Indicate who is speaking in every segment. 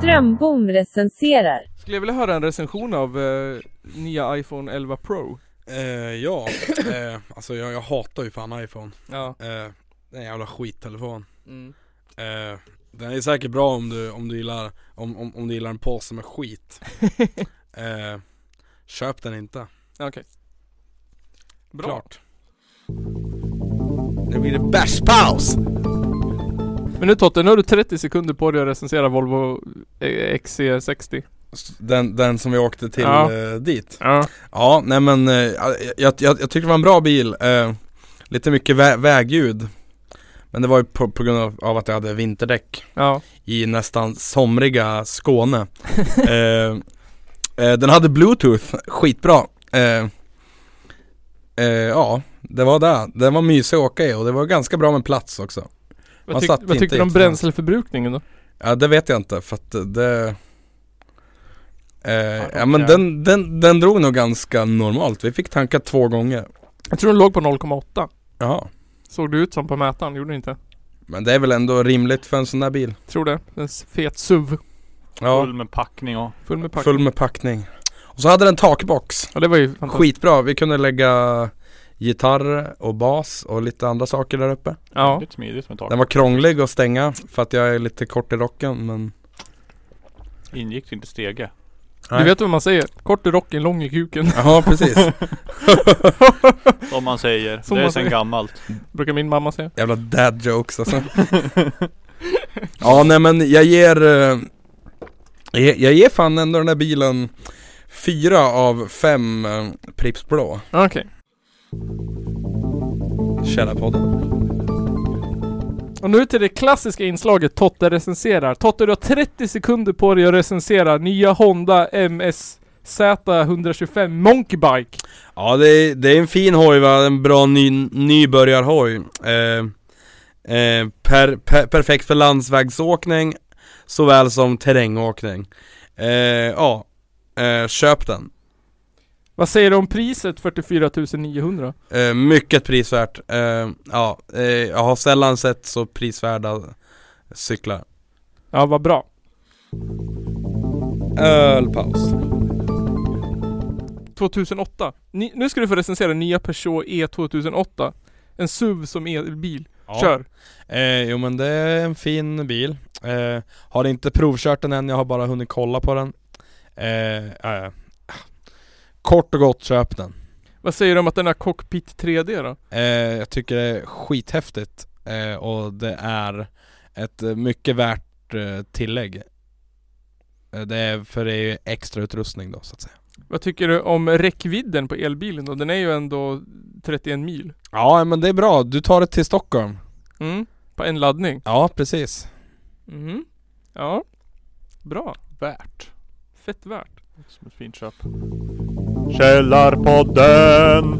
Speaker 1: Strömbom recenserar.
Speaker 2: Skulle jag vilja höra en recension av eh, nya iPhone 11 Pro?
Speaker 3: Eh, ja, eh, alltså jag, jag hatar ju fan iPhone.
Speaker 2: Ja.
Speaker 3: Eh, det är en jävla skittelefon.
Speaker 2: Mm.
Speaker 3: Eh, den är säkert bra om du, om du gillar, om, om, om du gillar en påse med skit. eh, köp den inte.
Speaker 2: Okej. Bra.
Speaker 3: Klart. Nu blir det bärspaus!
Speaker 2: Men nu Totte, nu har du 30 sekunder på dig att recensera Volvo eh, XC60.
Speaker 3: Den, den som vi åkte till
Speaker 2: Ja.
Speaker 3: eh, dit.
Speaker 2: Ja.
Speaker 3: Ja, nej men eh, jag, jag, jag, jag tyckte det var en bra bil. Eh, lite mycket vä- vägljud. Men det var ju på, på grund av, av att jag hade vinterdäck.
Speaker 2: Ja.
Speaker 3: i nästan somriga Skåne. eh, eh, den hade bluetooth, skitbra. Eh, eh, ja, det var det. Den var mysig att åka i och det var ganska bra med plats också.
Speaker 2: Vad,
Speaker 3: Man
Speaker 2: tyck,
Speaker 3: satt
Speaker 2: vad
Speaker 3: inte
Speaker 2: tyckte du om
Speaker 3: riktigt
Speaker 2: bränsleförbrukningen då?
Speaker 3: Ja, det vet jag inte för att det eh,
Speaker 2: okej.
Speaker 3: Ja men den, den, den drog nog ganska normalt. Vi fick tanka två gånger.
Speaker 2: Jag tror den låg på 0,8.
Speaker 3: Ja,
Speaker 2: Såg det ut som på mätaren? Gjorde det inte?
Speaker 3: men det är väl ändå rimligt för en sån där bil.
Speaker 2: Tror det. En fet SUV.
Speaker 3: Ja,
Speaker 4: Full med packning och...
Speaker 2: Full med packning.
Speaker 3: full med packning. Och så hade den takbox.
Speaker 2: Ja det var ju fantastiskt.
Speaker 3: Skitbra, vi kunde lägga gitarr och bas och lite andra saker där uppe.
Speaker 2: Ja.
Speaker 4: Väldigt smidigt med tak.
Speaker 3: Den var krånglig att stänga för att jag är lite kort i rocken men
Speaker 4: Ingick inte stege.
Speaker 2: Du
Speaker 3: Nej.
Speaker 2: vet vad man säger? Kort i rocken, lång i kuken.
Speaker 3: Ja precis,
Speaker 4: Som man säger.
Speaker 2: Som
Speaker 4: det är
Speaker 2: man
Speaker 4: sen
Speaker 2: säger.
Speaker 4: gammalt.
Speaker 2: Brukar min mamma säga.
Speaker 3: jävla dad jokes alltså Ja nej men jag ger eh, jag, ger- jag ger fan ändå den här bilen Fyra av fem eh, Pripps Blå
Speaker 2: Okej.
Speaker 3: Källarpodden
Speaker 2: Och nu till det klassiska inslaget Totte recenserar. Totte du har 30 sekunder på dig att recensera nya Honda MSZ 125 Monkeybike.
Speaker 3: Ja det är, det är en fin hoj va, en bra ny, nybörjarhoj eh, eh, per, per, Perfekt för landsvägsåkning såväl som terrängåkning eh, Ja, eh, köp den
Speaker 2: Vad säger du om priset 44 900?
Speaker 3: eh, Mycket prisvärt, eh, ja, eh, jag har sällan sett så prisvärda cyklar
Speaker 2: Ja, vad bra.
Speaker 3: Ölpaus
Speaker 2: 2008. Ni, nu ska du få recensera nya Peugeot E2008. En SUV som elbil. Kör!
Speaker 3: Eh, jo men det är en fin bil. Eh, har inte provkört den än, jag har bara hunnit kolla på den. Eh, ja, ja. Kort och gott, köp den.
Speaker 2: Vad säger du om att den har cockpit 3D då?
Speaker 3: Eh, jag tycker det är skithäftigt eh, och det är ett eh, mycket värt eh, tillägg. Eh, det är, för det är ju extra utrustning då så att säga.
Speaker 2: Vad tycker du om räckvidden på elbilen då? Den är ju ändå 31 mil.
Speaker 3: Ja men det är bra, du tar det till Stockholm.
Speaker 2: Mm. På en laddning.
Speaker 3: Ja precis.
Speaker 2: Mhm. Ja. Bra.
Speaker 4: Värt.
Speaker 2: Fett värt.
Speaker 4: Som ett fint köp. Källarpodden!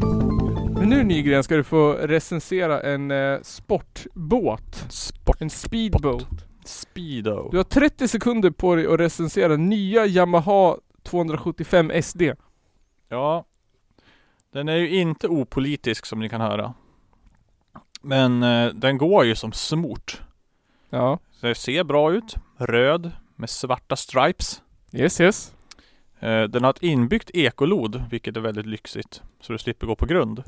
Speaker 2: Men nu Nygren ska du få recensera en eh, sportbåt.
Speaker 4: Sport.
Speaker 2: En speedboat.
Speaker 4: Speedo.
Speaker 2: Du har 30 sekunder på dig att recensera nya Yamaha 275 SD.
Speaker 4: Ja. Den är ju inte opolitisk som ni kan höra. Men eh, den går ju som smort.
Speaker 2: Ja.
Speaker 4: Den ser bra ut. Röd med svarta stripes.
Speaker 2: Yes yes.
Speaker 4: Eh, den har ett inbyggt ekolod, vilket är väldigt lyxigt. Så du slipper gå på grund.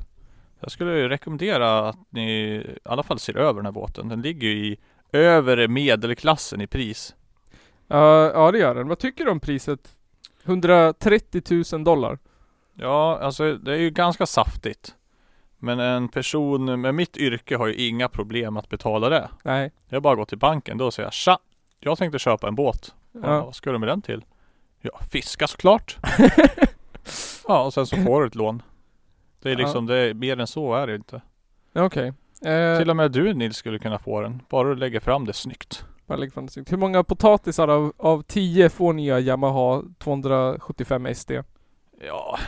Speaker 4: Jag skulle ju rekommendera att ni i alla fall ser över den här båten. Den ligger ju i övre medelklassen i pris.
Speaker 2: Ja, ja det gör den. Vad tycker du om priset? 130 000 dollar.
Speaker 4: Ja, alltså det är ju ganska saftigt. Men en person med mitt yrke har ju inga problem att betala det.
Speaker 2: Nej.
Speaker 4: Jag bara går till banken då och säger jag, tja, jag tänkte köpa en båt. Ja.
Speaker 2: Ja.
Speaker 4: Vad ska du med den till? Ja, fiska såklart. ja, och sen så får du ett lån. Det är
Speaker 2: Ja.
Speaker 4: liksom, det är, mer än så är det inte.
Speaker 2: Ja, Okej. Eh,
Speaker 4: Till och med du Nils skulle kunna få den. Bara du lägger fram det snyggt.
Speaker 2: bara lägg fram det snyggt. Hur många potatisar av, av 10 får nya Yamaha 275 SD?
Speaker 4: Ja.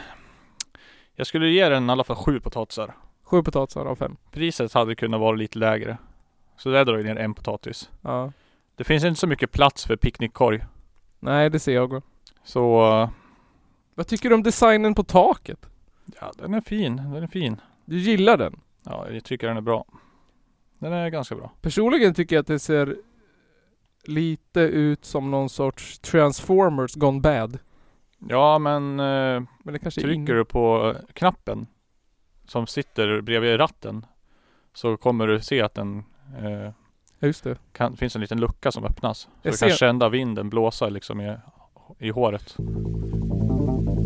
Speaker 4: Jag skulle ge den i alla fall sju potatisar.
Speaker 2: 7 potatisar av 5.
Speaker 4: Priset hade kunnat vara lite lägre. Så där drar jag ner en potatis.
Speaker 2: Ja.
Speaker 4: Det finns inte så mycket plats för picknickkorg.
Speaker 2: Nej, det ser jag.
Speaker 4: Så eh,
Speaker 2: Vad tycker du om designen på taket?
Speaker 4: Ja, den är fin. Den är fin.
Speaker 2: Du gillar den?
Speaker 4: Ja, jag tycker den är bra. Den är ganska bra.
Speaker 2: Personligen tycker jag att det ser lite ut som någon sorts Transformers gone bad.
Speaker 4: Ja, men eh,
Speaker 2: Men det kanske är in-
Speaker 4: trycker du på eh, knappen som sitter bredvid ratten så kommer du se att den eh,
Speaker 2: Ja, just det.
Speaker 4: kan, finns en liten lucka som öppnas. Så
Speaker 2: Jag
Speaker 4: du kan
Speaker 2: ser-
Speaker 4: känna vinden blåsa liksom i, i håret.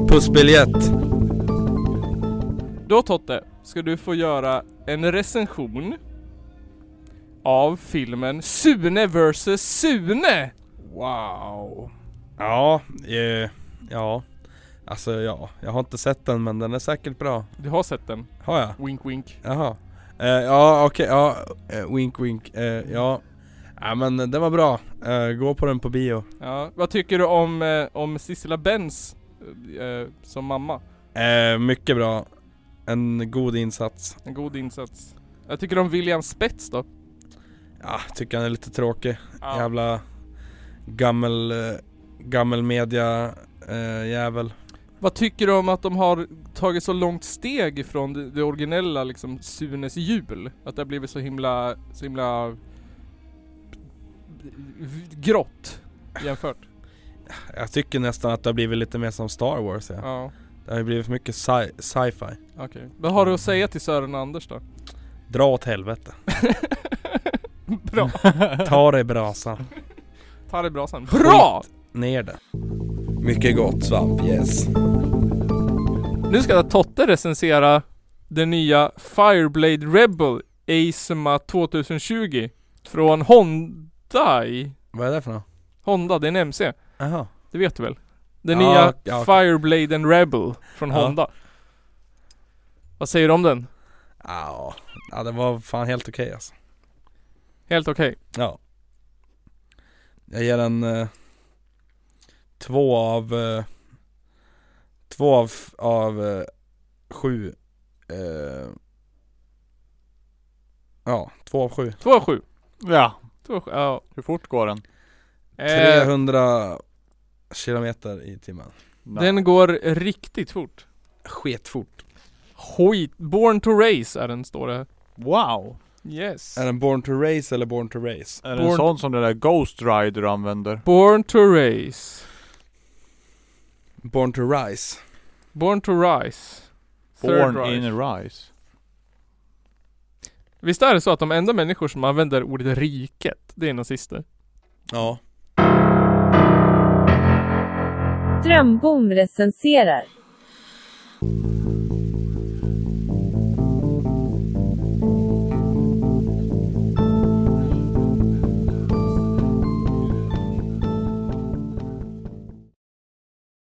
Speaker 3: Pussbiljett.
Speaker 2: Då Totte, ska du få göra en recension av filmen Sune vs Sune! Wow!
Speaker 3: Ja, eh, ja. Alltså ja, jag har inte sett den men den är säkert bra.
Speaker 2: Du har sett den?
Speaker 3: Har jag?
Speaker 2: Wink wink.
Speaker 3: Jaha. Eh, ja okej, ja. Eh, wink wink. Eh, ja. Ja men den var bra. Eh, gå på den på bio.
Speaker 2: Ja, vad tycker du om, eh, om Sissela Benz eh, som mamma?
Speaker 3: Eh, mycket bra. En god insats.
Speaker 2: En god insats. Jag tycker om William Spets då.
Speaker 3: Ja, tycker han är lite tråkig.
Speaker 2: Ja.
Speaker 3: Jävla gammel, eh, gammel media eh, jävel.
Speaker 2: Vad tycker du om att de har tagit så långt steg ifrån det, det originella liksom Sunes jul? Att det har blivit så himla, så himla grått jämfört.
Speaker 3: Jag tycker nästan att det har blivit lite mer som Star Wars ja.
Speaker 2: Ja,
Speaker 3: Det har ju blivit för mycket sci- sci-fi.
Speaker 2: okej. Vad har du att säga till Sören Anders då?
Speaker 3: Dra åt helvete.
Speaker 2: Bra.
Speaker 3: Ta dig brasan.
Speaker 2: Ta det bra sen. Bra!
Speaker 3: Ner det. Mycket gott svamp, yes.
Speaker 2: Nu ska Totte recensera den nya Fireblade Rebel ASMA 2020 från Hyundai.
Speaker 3: Vad är det för något?
Speaker 2: Honda, det är en MC.
Speaker 3: Jaha.
Speaker 2: Det vet du väl? Den
Speaker 3: Ja,
Speaker 2: nya
Speaker 3: ja, okej.
Speaker 2: Fireblade and Rebel från
Speaker 3: Ja.
Speaker 2: Honda. Vad säger du om den?
Speaker 3: Ja, ja, det var fan helt okej alltså.
Speaker 2: Helt okej.
Speaker 3: Ja. Jag ger den eh, två av eh, två av, av eh, sju. Eh, ja, två av sju.
Speaker 2: 2 av 7.
Speaker 4: Ja.
Speaker 2: 2 av 7, ja.
Speaker 4: Hur fort går den?
Speaker 2: Eh,
Speaker 3: 300 kilometer i timmen.
Speaker 2: den går riktigt fort.
Speaker 3: Sketfort.
Speaker 2: Skit. Born to race är den står det här.
Speaker 4: Wow!
Speaker 2: Yes.
Speaker 3: Är den born to race eller born to race?
Speaker 4: Är det
Speaker 2: Born-
Speaker 4: en sån som den där Ghost Rider använder?
Speaker 2: Born to race.
Speaker 3: Born to rise.
Speaker 2: Born to rise. Third
Speaker 4: Born
Speaker 2: rise.
Speaker 4: in Rise.
Speaker 2: Visst är det så att de enda människor som använder ordet riket, det är nazister?
Speaker 3: Ja.
Speaker 1: Strömbom recenserar.